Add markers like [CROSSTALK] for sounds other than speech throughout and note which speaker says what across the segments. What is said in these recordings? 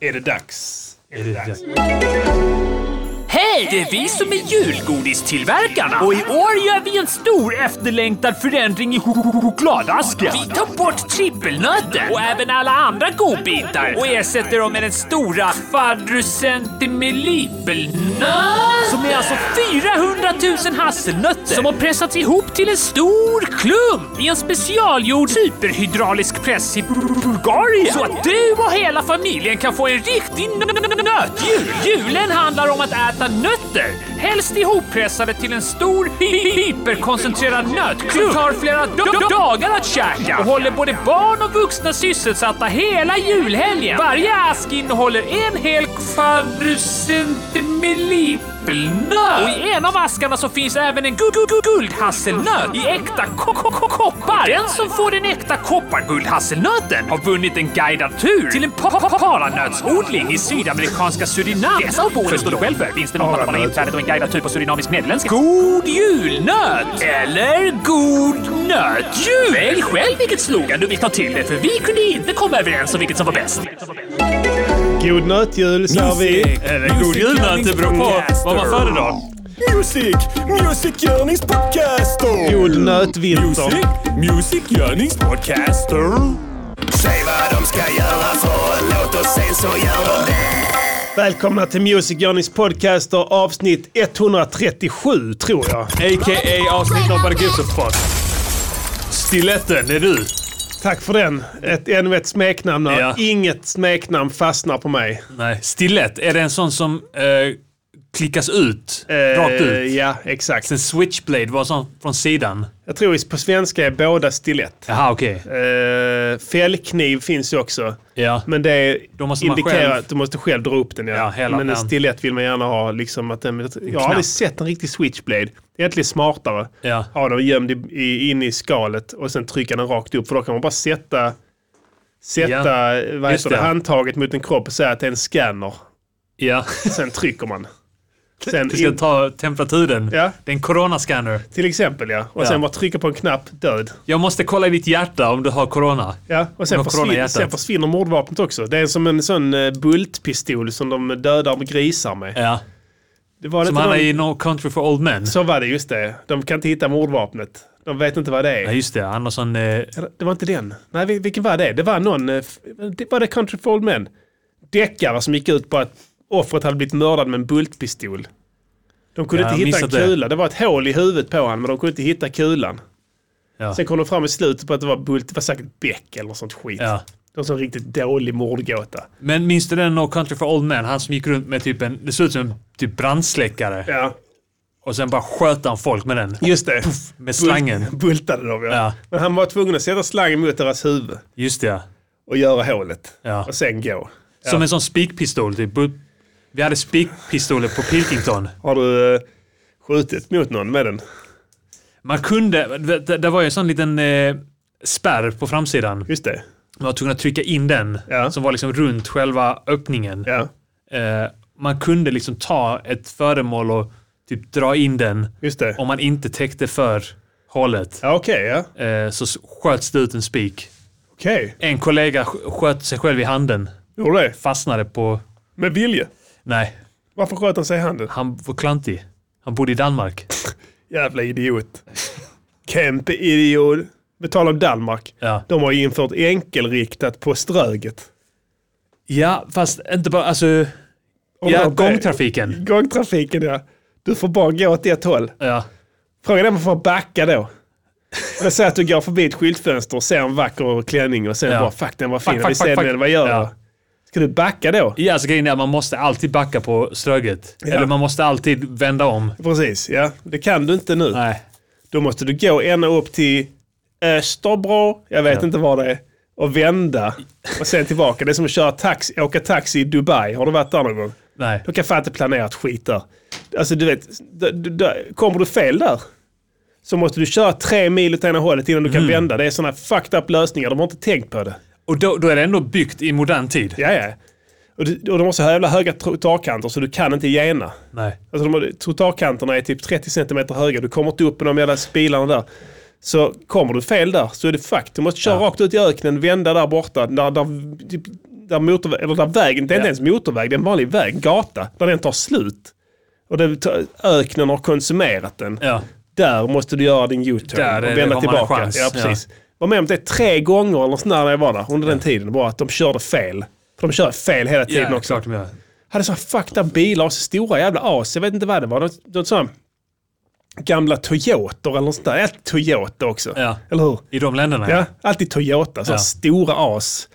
Speaker 1: Är det dags? Är det dags?
Speaker 2: Hej! Det är vi som är julgodistillverkarna. Och i år gör vi en stor efterlängtad förändring i ch- ch- ch- chokladasken. Vi tar bort trippelnötter och även alla andra godbitar och ersätter dem med den stora kvadrucentimilipelnöt. Som är alltså 400 000 hasselnötter som har pressats ihop till en stor klump i en specialgjord superhydraulisk press i Bulgarien. Så att du och hela familjen kan få en riktig n- n- n- nötjul. Julen handlar om att äta nötter, helst ihoppressade till en stor hy- hyperkoncentrerad nötklump som tar flera d- d- dagar att käka och håller både barn och vuxna sysselsatta hela julhelgen. Varje ask innehåller en hel kvadrucentimilipelnöt. Och i en av askarna så finns även en gu- gu- gu- guldhasselnöt i äkta ko- ko- ko- koppar. Den som får den äkta kopparguldhasselnöten har vunnit en guidad tur till en pa- pa- pa- paranötsodling i sydamerikanska Surinam. Dessa och båda står själv för vinsten om att man har inträdet och en guidad tur på surinamisk nederländska. God julnöt! Eller god nötjul! Välj själv vilket slogan du vill ta till dig för vi kunde inte komma överens om vilket som var bäst.
Speaker 1: God nötjul säger vi.
Speaker 3: Eller Eh, god jul men det beror på vad man föredrar.
Speaker 4: Music, music yearnings podcaster.
Speaker 1: God nötvinter.
Speaker 4: Music, music yearnings podcaster. Säg vad de ska göra för en låt och sen så gör de det.
Speaker 1: Välkomna till Music Journeys podcaster avsnitt 137 tror jag.
Speaker 3: A.k.a. avsnitt av Bara Gives a Fuck. Stiletten, det är du.
Speaker 1: Tack för den. Ett, ännu ett smeknamn. här.
Speaker 3: Ja.
Speaker 1: Inget smeknamn fastnar på mig.
Speaker 3: Nej, stilett. Är det en sån som eh, klickas ut? rakt
Speaker 1: Eh,
Speaker 3: ut?
Speaker 1: Ja, exakt.
Speaker 3: Sen switchblade var sån från sidan.
Speaker 1: Jag tror på svenska är båda stilett.
Speaker 3: Jaha, okej.
Speaker 1: Eh, fällkniv finns ju också.
Speaker 3: Ja.
Speaker 1: Men det
Speaker 3: Då måste man
Speaker 1: indikerar
Speaker 3: själv-
Speaker 1: att du måste själv dra upp den. Ja.
Speaker 3: Ja, hela
Speaker 1: Men en
Speaker 3: den.
Speaker 1: stilett vill man gärna ha. Liksom, att den, jag har aldrig sett en riktig switchblade. Det är egentligen smartare.
Speaker 3: Ja.
Speaker 1: Ha den gömd i, i, in i skalet och sen trycka den rakt upp. För då kan man bara sätta, sätta eh, vad
Speaker 3: Just
Speaker 1: heter det,
Speaker 3: det.
Speaker 1: handtaget mot en kropp och säga att det är en scanner.
Speaker 3: ja.
Speaker 1: Sen trycker man. Sen
Speaker 3: Du ska
Speaker 1: in,
Speaker 3: ta temperaturen.
Speaker 1: Ja.
Speaker 3: Det är en coronascanner.
Speaker 1: till exempel ja. Och sen
Speaker 3: Ja.
Speaker 1: bara trycka på en knapp, död.
Speaker 3: Jag måste kolla i ditt hjärta om du har corona.
Speaker 1: Ja, och
Speaker 3: Någon
Speaker 1: sen,
Speaker 3: corona i
Speaker 1: försvinner,
Speaker 3: hjärtat.
Speaker 1: sen försvinner mordvapnet också. Det är som en sån eh, bultpistol som de dödar grisar med.
Speaker 3: Ja.
Speaker 1: Det var
Speaker 3: Som
Speaker 1: inte
Speaker 3: alla
Speaker 1: någon-
Speaker 3: i No Country for Old Men.
Speaker 1: Så var det, just det. De kan inte hitta mordvapnet. De vet inte vad det
Speaker 3: Ja,
Speaker 1: är.
Speaker 3: just det. Andersson... Eh,
Speaker 1: Det var inte den. Nej, vil- vilken var det? Det var någon... eh, f- Det var det Country for Old Men? Deckare som gick ut på att offret hade blivit mördad med en bultpistol. De kunde
Speaker 3: Ja,
Speaker 1: inte hitta en
Speaker 3: missat det.
Speaker 1: kula. Det var ett hål i huvudet på honom, men de kunde inte hitta kulan.
Speaker 3: Ja.
Speaker 1: Sen kom de fram i slutet på att det var bult, det var säkert Beck eller något sånt skit.
Speaker 3: ja.
Speaker 1: Det var en sån riktigt dålig mordgåta.
Speaker 3: Men minns du den No Country for Old Men? Han som gick runt med typ en... Det såg ut som en typ brandsläckare.
Speaker 1: Ja,
Speaker 3: Och sen bara sköt han folk med den.
Speaker 1: just det.
Speaker 3: Med slangen.
Speaker 1: Bult, bultade de ja.
Speaker 3: Ja.
Speaker 1: Men han var tvungen att sätta slangen mot deras huvud
Speaker 3: Just det, ja.
Speaker 1: och göra hålet.
Speaker 3: Ja.
Speaker 1: Och sen gå.
Speaker 3: Som en sån spikpistol. Typ. Bu- Vi hade spikpistoler på Pilkington.
Speaker 1: Har du eh, skjutit mot någon med den?
Speaker 3: Man kunde... Det, det var ju en sån liten eh, spärr på framsidan.
Speaker 1: Just det.
Speaker 3: Man var tvungen att trycka in den.
Speaker 1: Ja.
Speaker 3: Som var liksom runt själva öppningen.
Speaker 1: Ja,
Speaker 3: Eh, man kunde liksom ta ett föremål och typ dra in den.
Speaker 1: just det.
Speaker 3: Om man inte täckte för hålet
Speaker 1: Ja, okej, ja.
Speaker 3: eh, så s- sköts det ut en spik.
Speaker 1: Okej.
Speaker 3: En kollega sk- sköt sig själv i handen.
Speaker 1: Gjorde det?
Speaker 3: Fastnade på...
Speaker 1: Med vilje?
Speaker 3: Nej,
Speaker 1: Varför sköt han sig i handen?
Speaker 3: han var klantig. Han bodde i Danmark.
Speaker 1: Jävla
Speaker 3: [LAUGHS]
Speaker 1: idiot. Kempe idiot. På tal om Danmark.
Speaker 3: Ja,
Speaker 1: De har ju infört enkelriktat på Ströget.
Speaker 3: ja fast inte bara... Alltså,
Speaker 1: Och
Speaker 3: ja,
Speaker 1: då-
Speaker 3: gångtrafiken.
Speaker 1: Gångtrafiken, ja. Du får bara gå åt ett håll.
Speaker 3: Ja.
Speaker 1: Frågan är om man får backa då. Jag säger att du går förbi ett skyltfönster och ser en vacker klänning och sen
Speaker 3: Ja.
Speaker 1: bara fuck den var fin,
Speaker 3: Fuck,
Speaker 1: jag vill
Speaker 3: fuck,
Speaker 1: se
Speaker 3: fuck,
Speaker 1: den,
Speaker 3: fuck.
Speaker 1: vad gör
Speaker 3: Ja.
Speaker 1: jag? Ska du backa då?
Speaker 3: ja, så grejen är att man måste alltid backa på ströget. Eller man måste alltid vända om.
Speaker 1: Precis, ja. Det kan du inte nu.
Speaker 3: Nej.
Speaker 1: Då måste du gå ända upp till Österbro, jag vet inte var det är, och vända och sen tillbaka. Det är som att köra taxi, åka taxi i Dubai. Har du varit där någon gång?
Speaker 3: Nej.
Speaker 1: Då kan fan inte planera ett skit där. Alltså du vet, d- d- d- kommer du fel där så måste du köra tre mil åt ena hållet innan du kan vända. Det är sådana fucked up lösningar, de har inte tänkt på det.
Speaker 3: Och då, då är det ändå byggt i modern tid.
Speaker 1: Ja, ja. Och, du, och de har så jävla höga tro- takkanter så du kan inte gena.
Speaker 3: Nej.
Speaker 1: Alltså de, har- trottoarkanterna är typ 30 cm höga. Du kommer inte upp med de jävla bilarna där. Så kommer du fel där så är det fuck. Du måste köra rakt ut i öknen, vända där borta. Där, där, typ, där, motorvä- eller där vägen, det är inte ens motorväg, det är en vanlig väg, gata, där den tar slut. Och det, tar- öknen har konsumerat den.
Speaker 3: Ja.
Speaker 1: Där måste du göra din
Speaker 3: Där är
Speaker 1: U-turn
Speaker 3: det-
Speaker 1: och vända
Speaker 3: har man en
Speaker 1: tillbaka.
Speaker 3: chans,
Speaker 1: ja, precis. Var med om det tre gånger eller sådär när jag var där under den tiden. Bara att de körde fel. För de kör fel hela tiden
Speaker 3: Ja,
Speaker 1: också
Speaker 3: klart de gör.
Speaker 1: hade såna fucked up bilar och så stora jävla as. Jag vet inte vad det var. De, de såna gamla Toyotor eller sånt där. Ett Toyota också.
Speaker 3: Ja.
Speaker 1: Eller hur?
Speaker 3: I de länderna?
Speaker 1: Ja, alltid Toyota. Så
Speaker 3: Ja.
Speaker 1: stora as.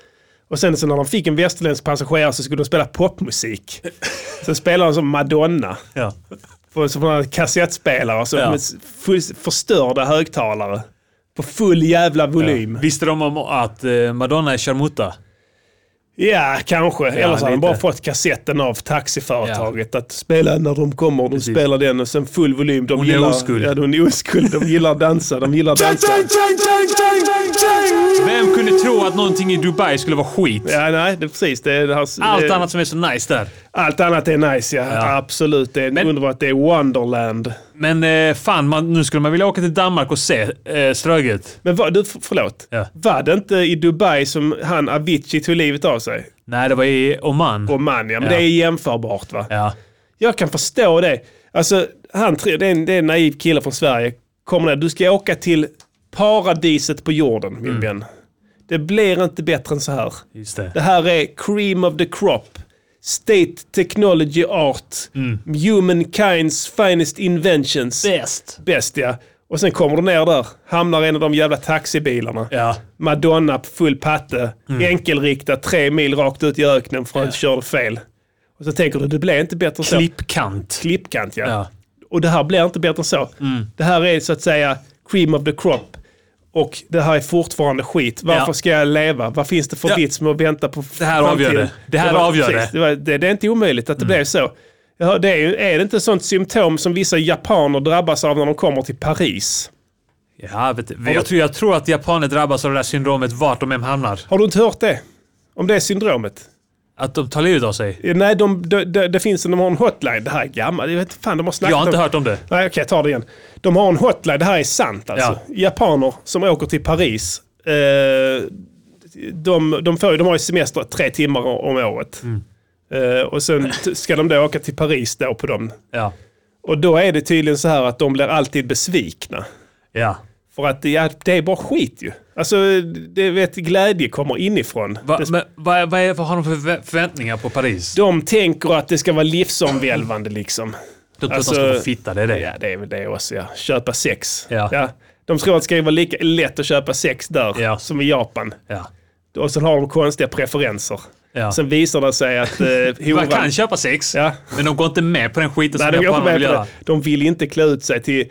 Speaker 1: Och sen så när de fick en västerländsk passagerare så skulle de spela
Speaker 3: [LAUGHS]
Speaker 1: popmusik. Så spelade de som Madonna.
Speaker 3: ja.
Speaker 1: På sådana kassettspelare. Så
Speaker 3: Ja.
Speaker 1: med full, förstörda högtalare. På full jävla volym.
Speaker 3: Visste de om att eh, Madonna är charmuta?
Speaker 1: Ja, kanske. Eller så har de
Speaker 3: lite.
Speaker 1: bara fått kassetten av taxiföretaget. Att spela när de kommer, de spelar den och sen full volym. De
Speaker 3: Hon är
Speaker 1: gillar,
Speaker 3: oskuld.
Speaker 1: Ja, hon är oskuld. De gillar att dansa. De gillar att dansa.
Speaker 3: Vem kunde tro att någonting i Dubai skulle vara skit?
Speaker 1: Ja, nej, det, precis. Det, är- det, har-
Speaker 3: Allt
Speaker 1: det,
Speaker 3: annat som är så nice där.
Speaker 1: allt annat är nice, ja.
Speaker 3: Ja.
Speaker 1: Absolut. Det är
Speaker 3: Men-
Speaker 1: underbart. Det är Wonderland.
Speaker 3: Men eh, fan, man, nu skulle man vilja åka till Danmark och se eh, Ströget.
Speaker 1: Men vad, du, f- förlåt.
Speaker 3: Ja.
Speaker 1: Var det inte i Dubai som han Avicii tog livet av sig?
Speaker 3: Nej, det var i Oman.
Speaker 1: På Mania. Men
Speaker 3: Ja.
Speaker 1: det är jämförbart, va?
Speaker 3: Ja.
Speaker 1: Jag kan förstå det. Alltså, han, tror- det, är en, det är en naiv kille från Sverige. Kommer ner, du ska åka till paradiset på jorden, min vän. Det blir inte bättre än så här.
Speaker 3: Mm. Just det.
Speaker 1: Det här är cream of the crop. State technology art.
Speaker 3: Mm.
Speaker 1: Humankind's finest inventions.
Speaker 3: Bäst.
Speaker 1: Bäst ja. Och sen kommer du ner där, hamnar i en av de jävla taxibilarna.
Speaker 3: Ja. Mm.
Speaker 1: Madonna på full patte, enkelriktat tre mil rakt ut i öknen för att du körde fel. Och så tänker du, det blev inte bättre än så
Speaker 3: Klippkant.
Speaker 1: klippkant. Ja.
Speaker 3: Ja. Mm.
Speaker 1: Och det här blir inte bättre än så. Det här är så att säga cream of the crop. Och det här är fortfarande skit. Varför
Speaker 3: Ja.
Speaker 1: ska jag leva? Vad finns det för
Speaker 3: Ja.
Speaker 1: vits med att vänta på Det
Speaker 3: här avgör det. Det här avgör det. Mm.
Speaker 1: Det, var, det. det är inte omöjligt att det blev så. Ja, Det är, ju, är det inte ett sånt symptom som vissa japaner drabbas av när de kommer till Paris?
Speaker 3: Ja, vet, jag, tror, jag tror att japaner drabbas av det där syndromet vart de än hamnar.
Speaker 1: Har du inte hört det? Om det syndromet?
Speaker 3: Att de tar livet av sig.
Speaker 1: Eh, Nej, de, de, de, det finns en, de har en hotline. Det här är gammalt. Jag vet inte fan, de har snackat
Speaker 3: Jag har inte
Speaker 1: om-
Speaker 3: hört om det.
Speaker 1: Nej, okej, jag tar det igen. De har en hotline, det här är sant alltså. Japaner som åker till Paris, eh, de, de, får, ju- de har ju semester tre timmar o- om året. Eh, och sen t- ska de då åka till Paris då på dem.
Speaker 3: Ja.
Speaker 1: Och då är det tydligen så här att de blir alltid besvikna.
Speaker 3: Ja.
Speaker 1: För att ja, det är bara skit ju. Alltså, det, vet, glädje kommer inifrån.
Speaker 3: Va,
Speaker 1: Det-
Speaker 3: men, vad, vad, är, vad har de för förvä- förväntningar på Paris?
Speaker 1: de tänker att det ska vara livsomvälvande liksom.
Speaker 3: De tror
Speaker 1: Alltså-
Speaker 3: att de ska få fitta, det är det.
Speaker 1: Ja, det är väl det också ja. Köpa sex.
Speaker 3: Ja.
Speaker 1: De tror att det ska vara lika lätt att köpa sex där
Speaker 3: Ja.
Speaker 1: som i Japan.
Speaker 3: Ja.
Speaker 1: Och sen har de konstiga preferenser.
Speaker 3: Ja.
Speaker 1: Sen visar det sig att eh,
Speaker 3: [LAUGHS] Man kan
Speaker 1: horan...
Speaker 3: köpa sex,
Speaker 1: Ja.
Speaker 3: men de går inte med på den skiten
Speaker 1: Nej,
Speaker 3: som
Speaker 1: de, går inte
Speaker 3: japanerna
Speaker 1: med
Speaker 3: vill
Speaker 1: på
Speaker 3: göra.
Speaker 1: det. de vill inte klä ut sig till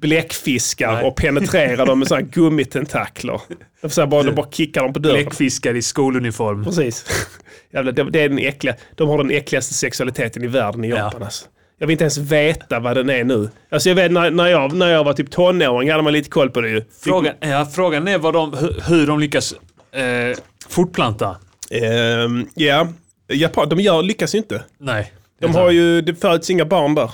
Speaker 1: bläckfiskar
Speaker 3: Nej.
Speaker 1: och penetrera dem med sådana här
Speaker 3: [LAUGHS]
Speaker 1: gummitentakler. De, får så här bara, de bara kickar dem på dörren.
Speaker 3: Bläckfiskar i skoluniform.
Speaker 1: Precis. [LAUGHS] Jävlar, det, det är den äckliga, de har den äckligaste sexualiteten i världen i Japan.
Speaker 3: Ja.
Speaker 1: Alltså. Jag vill inte ens veta vad den är nu. Alltså jag vet när, när, jag, när jag var typ tonåring hade man lite koll på det ju.
Speaker 3: Frågan, ja, frågan är vad de, hur, hur de lyckas eh, fortplanta.
Speaker 1: Ehm, Ja, Japan, de gör, lyckas ju inte.
Speaker 3: Nej.
Speaker 1: De har ju, det föds inga barn där.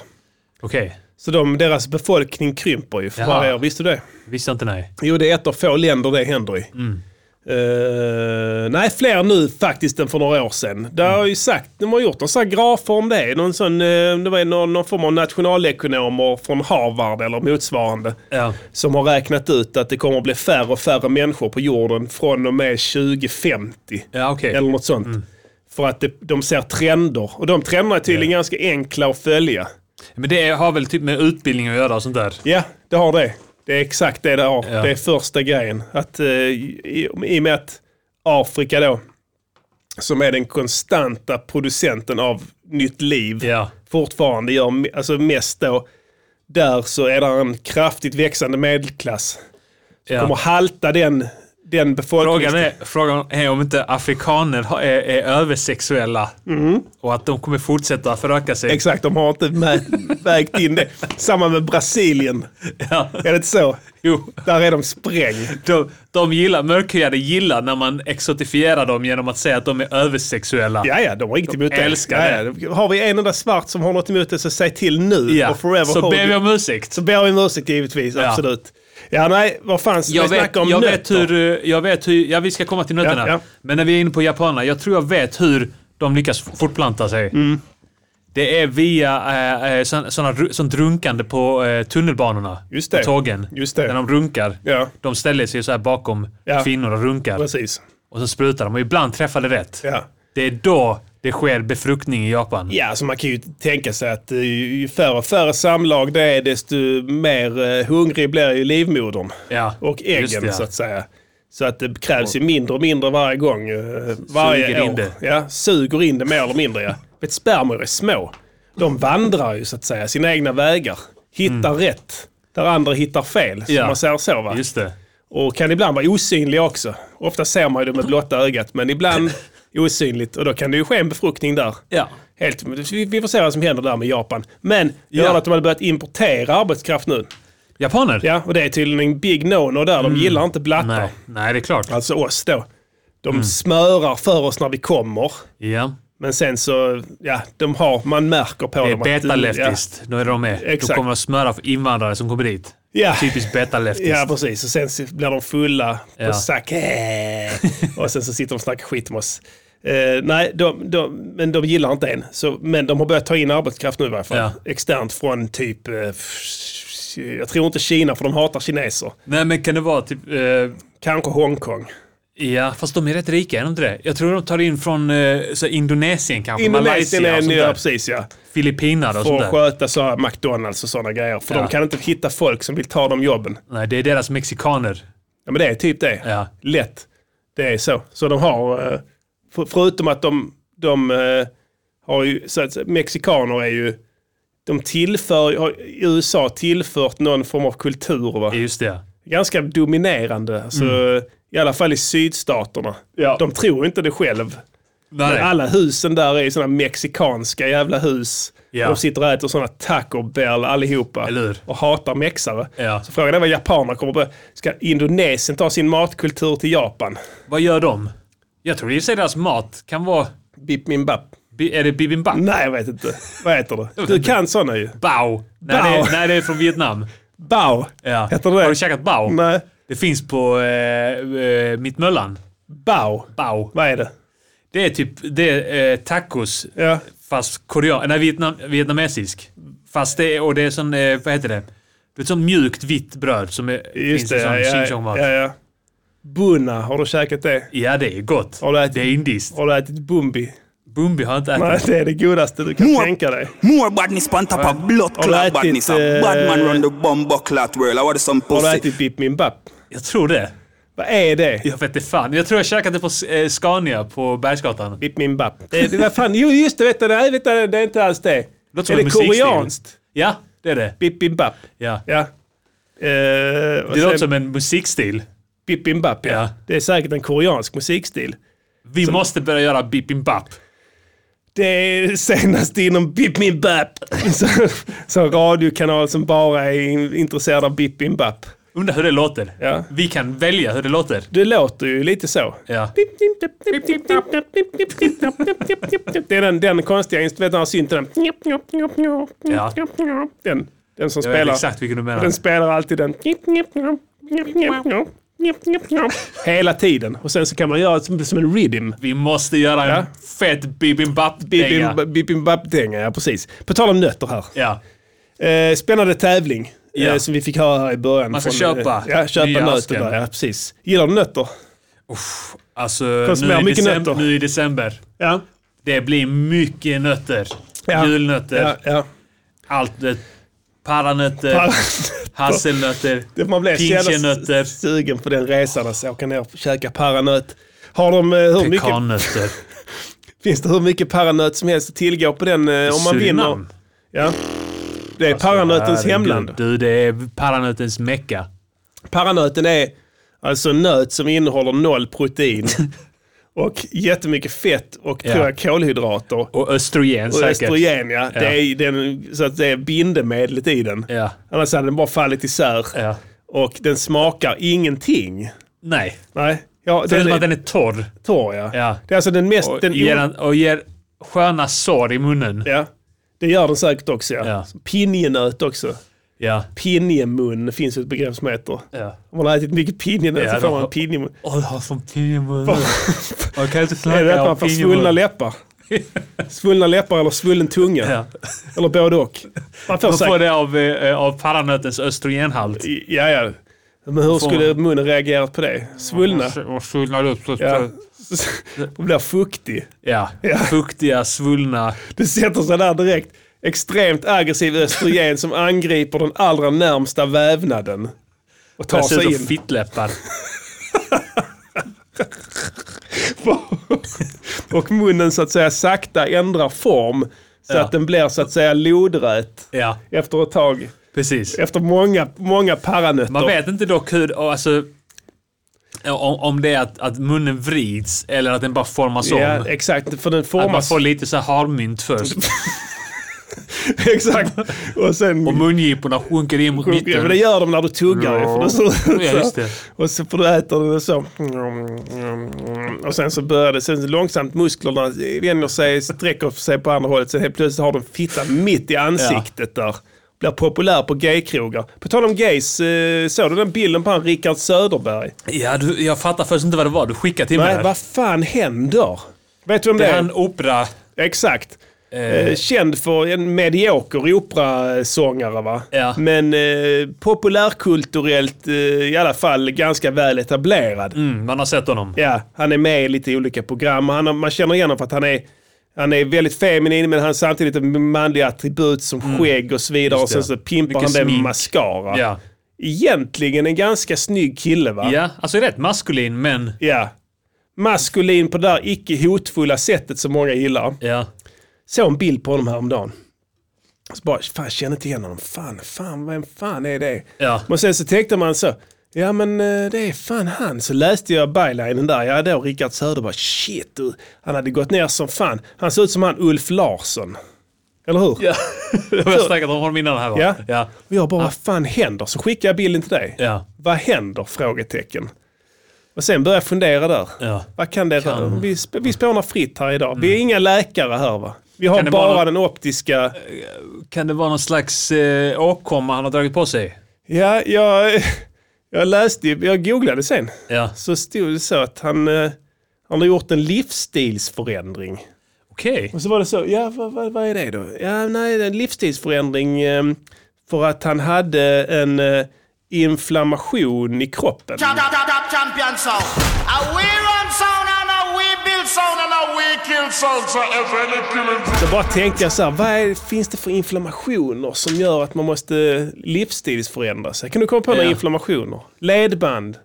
Speaker 3: Okej.
Speaker 1: Så de, deras befolkning krymper ju för
Speaker 3: Jaha.
Speaker 1: varje år. Visste du det?
Speaker 3: Visste inte nej.
Speaker 1: Jo, det är ett av få länder det händer i. Eh, nej, fler nu faktiskt än för några år sedan. Det har jag ju sagt, de har gjort en sån här grafer om det. Någon, sån, eh, det var någon, någon form av nationalekonomer från Harvard eller motsvarande.
Speaker 3: Ja.
Speaker 1: Som har räknat ut att det kommer att bli färre och färre människor på jorden från och med 2050.
Speaker 3: Ja, okej.
Speaker 1: Eller något sånt. För att det, de ser trender. Och de trenderna är tydligen ganska enkla att följa.
Speaker 3: Men det har väl typ med utbildning att göra och sånt där.
Speaker 1: Ja, det har det. Det är exakt det det har.
Speaker 3: Ja.
Speaker 1: Det är första grejen. Att, eh, i, I och med att Afrika då, som är den konstanta producenten av nytt liv,
Speaker 3: Ja.
Speaker 1: fortfarande gör me- alltså mest då. Där så är det en kraftigt växande medelklass. Kommer
Speaker 3: ja.
Speaker 1: halta den, den befolkningen.
Speaker 3: Frågan, är, frågan är om inte afrikaner har- är, är översexuella
Speaker 1: Mm.
Speaker 3: och att de kommer fortsätta föröka sig.
Speaker 1: Exakt, de har inte mä- vägt in det. Samma med Brasilien.
Speaker 3: ja.
Speaker 1: Är det inte så?
Speaker 3: Jo.
Speaker 1: Där är de spräng.
Speaker 3: De, de gillar, mörkhyade gillar när man exotifierar dem genom att säga att de är översexuella.
Speaker 1: Ja, ja, de har inget emot det.
Speaker 3: älskar
Speaker 1: ja, ja. Har vi en enda svart som har något emot det så säg till nu.
Speaker 3: Ja.
Speaker 1: Och forever
Speaker 3: Så
Speaker 1: hold
Speaker 3: ber
Speaker 1: it.
Speaker 3: vi om ursäkt.
Speaker 1: så ber vi om ursäkt givetvis, absolut. Ja, nej, vad fan ska vi
Speaker 3: Jag vet,
Speaker 1: snacka om
Speaker 3: jag,
Speaker 1: nötter?
Speaker 3: vet hur, eh, jag vet hur, ja vi ska komma till nötterna.
Speaker 1: Ja, ja.
Speaker 3: Men när vi är inne på japanerna, jag tror jag vet hur de lyckas fortplanta sig.
Speaker 1: Mm.
Speaker 3: Det är via eh, sådana, sånt runkande på eh, tunnelbanorna.
Speaker 1: Just det.
Speaker 3: På tågen.
Speaker 1: Just det.
Speaker 3: När de runkar.
Speaker 1: Ja.
Speaker 3: De ställer sig så här bakom
Speaker 1: Ja.
Speaker 3: kvinnor och runkar.
Speaker 1: Precis.
Speaker 3: Och så sprutar de och ibland träffar det rätt.
Speaker 1: Ja.
Speaker 3: Det är då det sker befruktning i Japan.
Speaker 1: Ja, så man kan ju tänka sig att eh, ju färre och färre samlag det är, desto mer eh, hungrig blir ju livmodern.
Speaker 3: Ja,
Speaker 1: Och
Speaker 3: just
Speaker 1: äggen,
Speaker 3: det, ja.
Speaker 1: så att säga. Så att det krävs ju mindre och mindre varje gång. eh, Varje
Speaker 3: Suger
Speaker 1: år.
Speaker 3: in det.
Speaker 1: Ja, suger in det mer eller mindre,
Speaker 3: [LAUGHS]
Speaker 1: ja. Vet, spermier är små. De vandrar ju, så att säga, sina egna vägar. Hittar rätt. Där andra hittar fel, som
Speaker 3: Mm. Ja.
Speaker 1: man säger så. Va?
Speaker 3: Just det.
Speaker 1: Och kan ibland vara osynliga också. Ofta ser man ju dem med blotta ögat, men
Speaker 3: [LAUGHS]
Speaker 1: ibland osynligt. Och då kan det ju ske en befruktning där.
Speaker 3: Ja.
Speaker 1: Helt, vi, vi får se vad som händer där med Japan. Men jag
Speaker 3: Ja.
Speaker 1: hörde att de hade börjat importera arbetskraft nu.
Speaker 3: Japaner?
Speaker 1: Ja, och det är tydligen en big no-no där. De gillar inte blattar.
Speaker 3: Mm. Nej. Mm. Nej, det är klart.
Speaker 1: Alltså oss då. De smörar för oss när vi kommer.
Speaker 3: Ja.
Speaker 1: Men sen så, ja, de har, man märker på
Speaker 3: Det är
Speaker 1: dem att...
Speaker 3: beta-leftiskt. Då är de med. Då
Speaker 1: Exakt.
Speaker 3: kommer de smöra för invandrare som kommer dit.
Speaker 1: Ja.
Speaker 3: Typiskt beta-leftiskt.
Speaker 1: Ja, precis. Och sen så blir de fulla
Speaker 3: Ja.
Speaker 1: på
Speaker 3: [LAUGHS]
Speaker 1: sake. Och sen så sitter de och snackar skit med oss. Eh, nej, de, de, men de gillar inte en. Så, men de har börjat ta in arbetskraft nu i varje fall.
Speaker 3: Ja.
Speaker 1: Externt från typ, eh, f- jag tror inte Kina för de hatar kineser.
Speaker 3: Nej, men kan det vara typ... eh,
Speaker 1: Kanske Hongkong.
Speaker 3: ja, fast de är rätt rika, är de inte det? Jag tror de tar in från eh, så här Indonesien kanske,
Speaker 1: Indonesien
Speaker 3: Malaysia
Speaker 1: är
Speaker 3: och
Speaker 1: en,
Speaker 3: sånt
Speaker 1: ja
Speaker 3: där.
Speaker 1: precis ja.
Speaker 3: Filippinerna och
Speaker 1: För
Speaker 3: sånt
Speaker 1: att
Speaker 3: där.
Speaker 1: sköta så här McDonalds och sådana grejer. För
Speaker 3: Ja.
Speaker 1: de kan inte hitta folk som vill ta de jobben.
Speaker 3: Nej, det är deras mexikaner.
Speaker 1: Ja, men det är typ det.
Speaker 3: Ja.
Speaker 1: Lätt. Det är så. Så de har, eh, för, förutom att de, de eh, har ju, så att mexikaner är ju, de tillför, har i USA tillfört någon form av kultur. Va?
Speaker 3: Ja, Just det.
Speaker 1: Ganska dominerande, alltså, i alla fall i sydstaterna.
Speaker 3: Mm. Ja.
Speaker 1: De tror inte det själv.
Speaker 3: Nej.
Speaker 1: Alla husen där är sådana mexikanska jävla hus.
Speaker 3: Ja.
Speaker 1: De sitter och äter sådana taco bell allihopa.
Speaker 3: Eller hur?
Speaker 1: Och hatar mexare.
Speaker 3: Ja.
Speaker 1: Så frågan är vad japaner kommer på. Ska Indonesien ta sin matkultur till Japan?
Speaker 3: Vad gör de? Jag tror i och för sig deras mat kan vara...
Speaker 1: Bip min bap.
Speaker 3: bi- Är det bibimbap?
Speaker 1: Nej, jag vet inte. Vad heter det? Du kan sådana ju.
Speaker 3: Bao. Nej,
Speaker 1: Bao.
Speaker 3: Det är, nej, det är från Vietnam.
Speaker 1: Bao.
Speaker 3: Ja.
Speaker 1: Heter det
Speaker 3: Har du käkat bao?
Speaker 1: Nej.
Speaker 3: Det finns på eh, eh, Mittmöllan.
Speaker 1: Bao.
Speaker 3: Bao.
Speaker 1: Vad är det?
Speaker 3: Det är typ det är, eh, tacos,
Speaker 1: Ja.
Speaker 3: fast korean, nej, vietnam, vietnamesisk. Fast det är, och det är sån, eh, vad heter det? Det är sån mjukt vitt bröd som är,
Speaker 1: Just
Speaker 3: finns i
Speaker 1: det.
Speaker 3: sån
Speaker 1: Ja, ja,
Speaker 3: chimichurri-mat.
Speaker 1: ja, ja. Buna, har du käkat det?
Speaker 3: Ja, det är gott.
Speaker 1: Har du ätit-
Speaker 3: Det är indiskt.
Speaker 1: Har du ätit bumbi?
Speaker 3: Bumbi har jag inte ätit.
Speaker 1: Nej, det är det godaste du kan
Speaker 4: Mua.
Speaker 1: tänka dig.
Speaker 4: More badness pan top of blood
Speaker 1: Alright,
Speaker 4: clot badness.
Speaker 1: it,
Speaker 4: A bad man
Speaker 1: eh,
Speaker 4: run the bomb clot world. I want some
Speaker 1: Har du
Speaker 4: pussy.
Speaker 1: ätit bip min bap?
Speaker 3: Jag tror det.
Speaker 1: Vad är det?
Speaker 3: Jag vet inte fan. Jag tror jag käkat det på eh, Scania på Bergsgatan.
Speaker 1: Bip min bap. Det, det, vad fan, jo just det, vet du, nej, vet du, det är inte alls det.
Speaker 3: Låter som
Speaker 1: är det
Speaker 3: en musikstil.
Speaker 1: koreanskt?
Speaker 3: Ja, det är det.
Speaker 1: Bip min bap.
Speaker 3: Ja.
Speaker 1: Ja. Eh, och
Speaker 3: Det låter
Speaker 1: sen
Speaker 3: som en musikstil.
Speaker 1: Bip min bap, ja.
Speaker 3: Ja.
Speaker 1: Det är säkert en koreansk musikstil.
Speaker 3: Vi måste börja göra bibimbap.
Speaker 1: Det är senast inom Bip min bap. [LAUGHS] Så, så en radiokanal som bara är in- intresserad av Bip min bap.
Speaker 3: Undrar hur det låter.
Speaker 1: Ja.
Speaker 3: Vi kan välja hur det låter.
Speaker 1: Det låter ju lite så.
Speaker 3: Ja.
Speaker 1: Det är den, den konstiga, inst- vet du den här synten?
Speaker 3: Ja.
Speaker 1: Den, den som
Speaker 3: Jag vet
Speaker 1: spelar.
Speaker 3: exakt vilken du menar.
Speaker 1: Den spelar alltid den. Hela tiden. Och sen så kan man göra som, som en rhythm.
Speaker 3: Vi måste göra en
Speaker 1: Ja.
Speaker 3: fet bibimbap dänga.
Speaker 1: Bibimbap-dänga, ja precis. På tal om nötter här.
Speaker 3: Ja.
Speaker 1: Eh, spännande tävling
Speaker 3: Ja.
Speaker 1: eh, som vi fick höra här i början.
Speaker 3: Man ska
Speaker 1: från, eh,
Speaker 3: köpa
Speaker 1: Ja, köpa
Speaker 3: nya
Speaker 1: nötter
Speaker 3: asken.
Speaker 1: där, ja precis. Gillar du nötter?
Speaker 3: Alltså,
Speaker 1: Konsumera
Speaker 3: nu i,
Speaker 1: mycket
Speaker 3: december,
Speaker 1: nötter.
Speaker 3: nu i december.
Speaker 1: Ja.
Speaker 3: Det blir mycket nötter.
Speaker 1: Ja.
Speaker 3: Julnötter,
Speaker 1: ja, ja.
Speaker 3: allt nöt, paranötter, hasselnötter,
Speaker 1: Det- Man blev så jävla
Speaker 3: Pinchenötter.
Speaker 1: s- sugen på den resan alltså. Åka ner och käka paranöt. Har de, eh, hur mycket,
Speaker 3: pekannötter.
Speaker 1: finns det hur mycket paranöt som helst att tillgå på den eh, om man vinner?
Speaker 3: Surinam. Alltså,
Speaker 1: Ja. Det är paranötens
Speaker 3: Herregud,
Speaker 1: hemland.
Speaker 3: Du, det är paranötens mecka.
Speaker 1: Paranöten är alltså en nöt som innehåller noll
Speaker 3: [LAUGHS]
Speaker 1: protein och jättemycket fett och
Speaker 3: Ja.
Speaker 1: tror jag kolhydrater. Och
Speaker 3: Och östrogen säkert.
Speaker 1: östrogen, ja.
Speaker 3: Ja.
Speaker 1: Det är, den, så att det är bindemedlet i den.
Speaker 3: Ja.
Speaker 1: Annars hade den bara fallit isär.
Speaker 3: Ja.
Speaker 1: Och den smakar ingenting.
Speaker 3: Nej,
Speaker 1: Nej, ja,
Speaker 3: det är
Speaker 1: den
Speaker 3: som att
Speaker 1: är
Speaker 3: den är torr.
Speaker 1: torr ja.
Speaker 3: Ja.
Speaker 1: Det är alltså den mest...
Speaker 3: Och,
Speaker 1: den,
Speaker 3: ger, en- och ger sköna sår i munnen.
Speaker 1: ja, det gör den säkert också ja.
Speaker 3: Ja.
Speaker 1: Pinjenöt också.
Speaker 3: Ja.
Speaker 1: Pinjemun finns ju ett begrepp som heter.
Speaker 3: ja.
Speaker 1: Om man har ätit mycket pinjemun
Speaker 3: Ja,
Speaker 1: så får
Speaker 3: då-
Speaker 1: man en pinjemun.
Speaker 3: Åh, jag har sån pinjemun. Jag
Speaker 1: Det
Speaker 3: kan inte
Speaker 1: är
Speaker 3: snacka
Speaker 1: därför
Speaker 3: om
Speaker 1: man får svullna
Speaker 3: pinjemun. [LAUGHS]
Speaker 1: läppar. Svullna läppar eller svullen tunga.
Speaker 3: Ja.
Speaker 1: Eller både och. Man får
Speaker 3: Man får
Speaker 1: säkert...
Speaker 3: det av, eh, av paranötens östrogenhalt.
Speaker 1: Ja, ja. Men hur skulle munnen reagerat på det? Svullna?
Speaker 3: Och svullnar upp.
Speaker 1: Ja. [LAUGHS] Man blir fuktig.
Speaker 3: Ja. Fuktiga, svullna.
Speaker 1: Det sätter sig där direkt. Extremt aggressiv östrogen som angriper den allra närmsta vävnaden. Och tar sig
Speaker 3: Dessutom
Speaker 1: in.
Speaker 3: fittläppar.
Speaker 1: [LAUGHS] och munnen så att säga sakta ändrar form så
Speaker 3: Ja.
Speaker 1: att den blir så att säga lodrät
Speaker 3: Ja,
Speaker 1: efter ett tag.
Speaker 3: precis.
Speaker 1: Efter många, många paranötter.
Speaker 3: Man vet inte dock hur, och alltså, om, om det är att, att munnen vrids eller att den bara formas
Speaker 1: Ja,
Speaker 3: om.
Speaker 1: exakt. För den
Speaker 3: Att man
Speaker 1: formas... [LAUGHS]
Speaker 3: får lite så här harmynt först.
Speaker 1: exakt. Och sen...
Speaker 3: Och mungiporna sjunker in mot
Speaker 1: Ja, men
Speaker 3: mitten.
Speaker 1: det gör de när du tuggar. ju, För då så,
Speaker 3: Ja, just det.
Speaker 1: [LAUGHS] Och så får du äta den och så. Och sen så börjar det, sen så långsamt musklerna vänder sig, sträcker sig på andra hållet. Sen helt plötsligt har de fittan mitt i ansiktet där. Blir populär på gaykrogar. På tal om gays, eh, såg du den bilden på han Rickard Söderberg?
Speaker 3: Ja, du, jag fattar först inte vad det var. Du skickade till mig.
Speaker 1: Nej,
Speaker 3: här.
Speaker 1: vad fan händer? Vet du vem det
Speaker 3: Det
Speaker 1: är?
Speaker 3: är en opera...
Speaker 1: Exakt. Eh, känd för en medioker operasångare va?
Speaker 3: Ja.
Speaker 1: Men eh, populärkulturellt eh, i alla fall ganska väl etablerad.
Speaker 3: Mm, man har sett honom.
Speaker 1: Ja, han är med i lite olika program och han, har- man känner igen honom för att han är, han är väldigt feminin men han har samtidigt manliga attribut som skägg och så vidare och sen så pimpar han
Speaker 3: Mm. Mycket
Speaker 1: det med
Speaker 3: smink.
Speaker 1: mascara.
Speaker 3: Ja.
Speaker 1: Egentligen en ganska snygg kille va?
Speaker 3: ja, alltså rätt maskulin, men...
Speaker 1: Ja. Maskulin på det där icke hotfulla sättet som många gillar.
Speaker 3: Ja.
Speaker 1: såg en bild på honom häromdagen. Så bara, fan jag känner inte igen honom. Fan, fan, vem fan är det?
Speaker 3: Ja.
Speaker 1: Men sen så tänkte man så, ja men eh, det är fan han. Så läste jag bylinen där, ja då Rickard Söderberg, shit du, han hade gått ner som fan. Han såg ut som han Ulf Larsson. Eller hur?
Speaker 3: ja. jag har snackat om honom innan här va?
Speaker 1: Ja.
Speaker 3: Ja.
Speaker 1: Och jag bara, vad fan händer? Så skickade jag bilden till dig.
Speaker 3: Ja.
Speaker 1: Vad händer? Frågetecken. Och sen började jag fundera där.
Speaker 3: Ja. Mm.
Speaker 1: Vad kan det kan. Vi, sp- vi spånar fritt här idag. Vi är inga läkare här va? Vi har
Speaker 3: Kan det
Speaker 1: bara
Speaker 3: vara-
Speaker 1: den optiska...
Speaker 3: Kan det vara någon slags eh, åkomma han har dragit på sig?
Speaker 1: Ja, jag, [LAUGHS] jag läste ju, jag googlade sen.
Speaker 3: Ja.
Speaker 1: Så stod det så att han, eh, han har gjort en livsstilsförändring.
Speaker 3: Okej.
Speaker 1: Och så var det så, ja vad, vad, vad är det då? Ja, nej, det är en livsstilsförändring eh, för att han hade en eh, inflammation i kroppen.
Speaker 5: Cha- cha- cha- cha- champion sound. A we run sound and a we build sound and a we kill sound. So if any killing
Speaker 1: Så bara tänkte jag så här, vad är, finns det för inflammationer som gör att man måste livsstilsförändra sig? Kan du komma på några
Speaker 3: Ja.
Speaker 1: inflammationer? Ledband,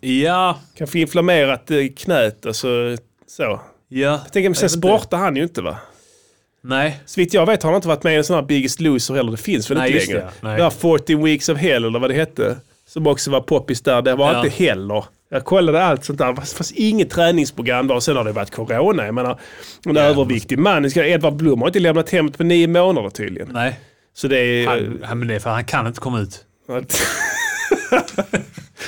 Speaker 3: Ja.
Speaker 1: kanske inflammerat eh, knät, alltså så.
Speaker 3: Ja.
Speaker 1: Tänk om sen
Speaker 3: vet inte.
Speaker 1: sportar han ju inte va?
Speaker 3: Nej.
Speaker 1: Så vitt jag vet har han inte varit med i en sån här Biggest Loser heller. Det finns väl
Speaker 3: Nej,
Speaker 1: inte
Speaker 3: just
Speaker 1: längre?
Speaker 3: det, ja. Nej.
Speaker 1: Det här 14 Weeks of Hell eller vad det hette. Som också var poppis där. Det var
Speaker 3: Ja.
Speaker 1: inte heller. Jag kollade allt sånt där. Det fanns- fanns inget träningsprogram där. Och sen har det varit corona. Jag menar, en överviktig man. Det ska- Edvard Blom har inte lämnat hemmet på nio månader tydligen.
Speaker 3: Nej.
Speaker 1: Så det är...
Speaker 3: Han, han, men det är för han kan inte komma ut. [LAUGHS]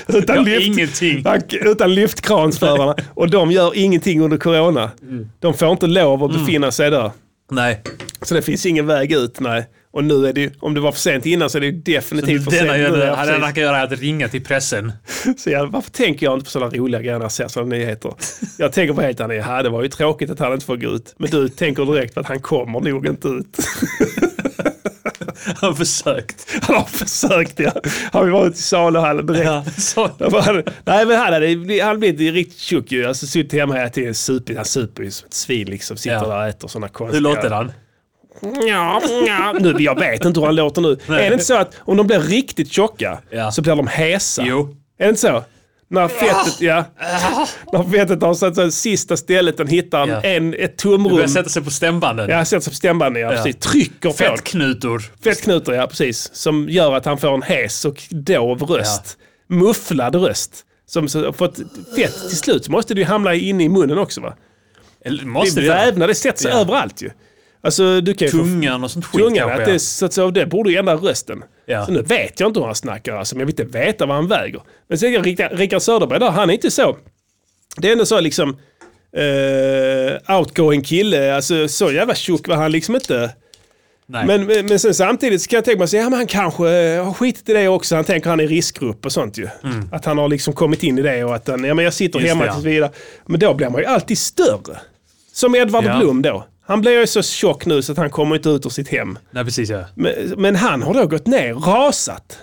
Speaker 1: utan,
Speaker 3: Ja,
Speaker 1: lyft,
Speaker 3: ingenting.
Speaker 1: han- utan lyftkransförarna. Och de gör ingenting under corona.
Speaker 3: Mm.
Speaker 1: De får inte lov att befinna sig där.
Speaker 3: Nej.
Speaker 1: Så det finns ingen väg ut, nej. Och nu är det ju, om det var för sent innan så är det ju definitivt för sent.
Speaker 3: Denna
Speaker 1: nu.
Speaker 3: gör det,
Speaker 1: Ja,
Speaker 3: hade
Speaker 1: precis.
Speaker 3: han kan göra är att ringa till pressen.
Speaker 1: så jag, varför tänker jag inte på sådana roliga grejer när jag ser sådana nyheter? Jag tänker på helt annat. Ja, det var ju tråkigt att han inte får gå ut. Men du tänker direkt på att han kommer nog inte ut.
Speaker 3: Han har försökt.
Speaker 1: Han har försökt ja. Han har varit i saluhallen direkt.
Speaker 3: Ja. Så.
Speaker 1: Där var han- Nej men han hade, han hade blivit riktigt tjock ju. Alltså suttit hemma hela tiden, supit. Han super ju som ett svin liksom. Sitter
Speaker 3: Ja.
Speaker 1: där och äter sådana konstiga...
Speaker 3: Hur låter han?
Speaker 1: Ja, ja. Nu, jag vet inte hur han låter nu. Är det inte så att om de blir riktigt tjocka
Speaker 3: Ja.
Speaker 1: så blir de hesa?
Speaker 3: Jo.
Speaker 1: Är det inte så? När fettet, ja. När fettet har satt sig sista stället den hittar
Speaker 3: Ja.
Speaker 1: en, ett
Speaker 3: Du börjar
Speaker 1: tomrum.
Speaker 3: sätta sig på stämbanden.
Speaker 1: Mm. Ja, sätter sig på stämbanden, ja,
Speaker 3: Ja.
Speaker 1: precis. Trycker på den.
Speaker 3: Fettknutor.
Speaker 1: Fettknutor, ja precis. Som gör att han får en hes och dov röst. Mufflad röst. Som, så- för att fett till slut så måste det ju hamna in i munnen också va?
Speaker 3: Eller
Speaker 1: Det
Speaker 3: måste
Speaker 1: är
Speaker 3: det göra.
Speaker 1: vävnad, det sätter sig
Speaker 3: Ja.
Speaker 1: överallt ju. Alltså du kan ju få
Speaker 3: Tungan och sånt skit
Speaker 1: tungan.
Speaker 3: kanske,
Speaker 1: Att det, så att, så, det borde ju ändra rösten.
Speaker 3: Ja.
Speaker 1: Så nu vet jag inte hur han snackar, alltså, men jag vill inte veta vad han väger. Men sen är Rickard- Rickard Söderberg där, han är inte så. Det är ändå så liksom eh, outgoing kille, alltså så jävla tjock var han liksom inte.
Speaker 3: Nej.
Speaker 1: Men, men, men sen samtidigt så kan jag tänka mig att ja, men han kanske eh, har skitit i det också. Han tänker han är i riskgrupp och sånt ju. Att han har liksom kommit in i det och att han, ja men jag sitter
Speaker 3: Mm. Just
Speaker 1: hemma
Speaker 3: det, ja.
Speaker 1: tills vidare. Men då blir man ju alltid större. Som Edvard
Speaker 3: Ja.
Speaker 1: Blom då. Han blir ju så tjock nu så att han kommer inte ut ur sitt hem.
Speaker 3: Nej, precis ja.
Speaker 1: Men, men han har då gått ner, rasat.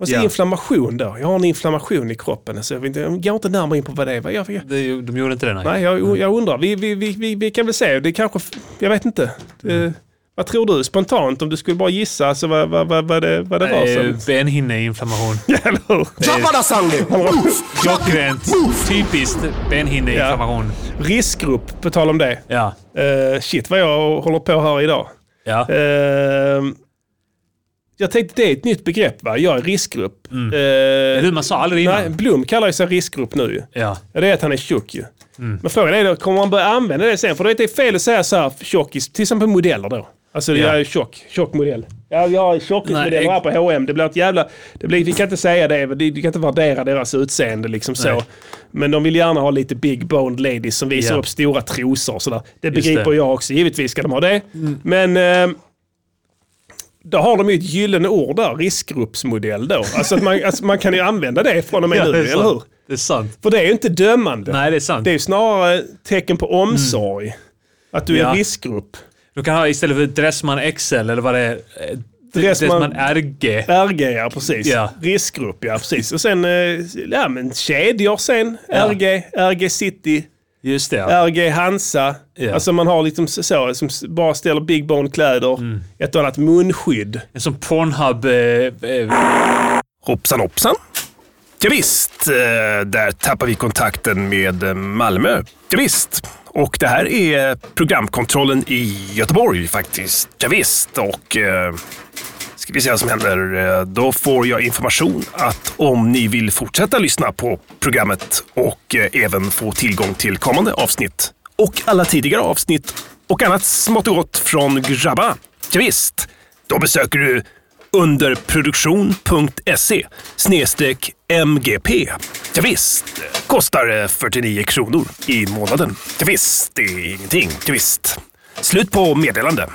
Speaker 1: Och så
Speaker 3: Ja.
Speaker 1: inflammation då. Jag har en inflammation i kroppen. Så jag, vet inte, jag går inte närmare in på vad det var. Jag, jag,
Speaker 3: Det, är ju- de gjorde inte det, nej.
Speaker 1: nej, jag, jag undrar. Vi, vi, vi, vi, vi kan väl se. Det kanske, jag vet inte.
Speaker 3: Mm.
Speaker 1: Eh, vad tror du spontant om du skulle bara gissa alltså, vad, vad, vad, vad det, vad det var?
Speaker 3: Eh,
Speaker 1: Som, [LAUGHS]
Speaker 3: Benhinneinflammation.
Speaker 1: eller hur?
Speaker 4: Jabba Sandy!
Speaker 1: [LAUGHS]
Speaker 3: Klockrent. Typiskt benhinneinflammation.
Speaker 1: Riskgrupp, på tal om det.
Speaker 3: Ja.
Speaker 1: Eh, shit vad jag håller på här idag.
Speaker 3: Ja.
Speaker 1: Eh, jag tänkte det är ett nytt begrepp va? Jag är riskgrupp. Eh,
Speaker 3: Du, Mm. man sa aldrig innan.
Speaker 1: nej, Blom kallar ju sig riskgrupp nu ju.
Speaker 3: Ja.
Speaker 1: Ja, det är att han är tjock ju.
Speaker 3: Mm.
Speaker 1: Men frågan är då, kommer man börja använda det sen? För det är fel att säga så här, tjockis, till exempel modeller då. Alltså
Speaker 3: Ja.
Speaker 1: jag är tjock, tjock modell. Ja, vi har
Speaker 3: Nej,
Speaker 1: tjockismodeller här på H&M. Det blir ett jävla... Det blir, vi kan inte säga det, vi vi kan inte värdera deras utseende liksom så.
Speaker 3: Nej.
Speaker 1: Men de vill gärna ha lite big boned ladies som visar
Speaker 3: Ja.
Speaker 1: upp stora trosor och sådär. Det
Speaker 3: Just
Speaker 1: begriper
Speaker 3: det. Mm.
Speaker 1: jag också, givetvis ska de ha det. Men... ehm, då har de ju ett gyllene ord där, riskgruppsmodell då. Alltså, att man, alltså man kan ju använda det från och med nu, eller hur?
Speaker 3: Det är sant.
Speaker 1: För det är ju inte dömande.
Speaker 3: Nej, det är sant.
Speaker 1: Det är ju snarare tecken på omsorg. Att du är
Speaker 3: Ja.
Speaker 1: riskgrupp.
Speaker 3: Du kan ha istället för Dressman XL eller vad det är. eh,
Speaker 1: Dressman-
Speaker 3: Dressman RG.
Speaker 1: RG, ja precis.
Speaker 3: Ja.
Speaker 1: Riskgrupp, ja precis. Och sen, eh, ja men kedjor sen.
Speaker 3: Ja.
Speaker 1: RG, RG City,
Speaker 3: Just det. Ja.
Speaker 1: RG Hansa.
Speaker 3: Ja.
Speaker 1: Alltså man har liksom så, så som s- bara ställer big bone kläder.
Speaker 3: Mm.
Speaker 1: Ett och annat munskydd.
Speaker 3: En sån Pornhub... Eh, eh,
Speaker 4: Hoppsan hoppsan. Ja, visst, eh, där tappar vi kontakten med eh, Malmö. Ja, visst. Och det här är programkontrollen i Göteborg faktiskt. Ja, visst. och eh, ska vi se vad som händer. Eh, Då får jag information att om ni vill fortsätta lyssna på programmet och eh, även få tillgång till kommande avsnitt och alla tidigare avsnitt och annat smått och gott från grabba. Ja, visst. då besöker du underproduktion.se E snedstreck MGP. Ja, visst. kostar eh, 49 kronor i månaden. Ja, visst. det är ingenting. Ja, visst. Slut på meddelande.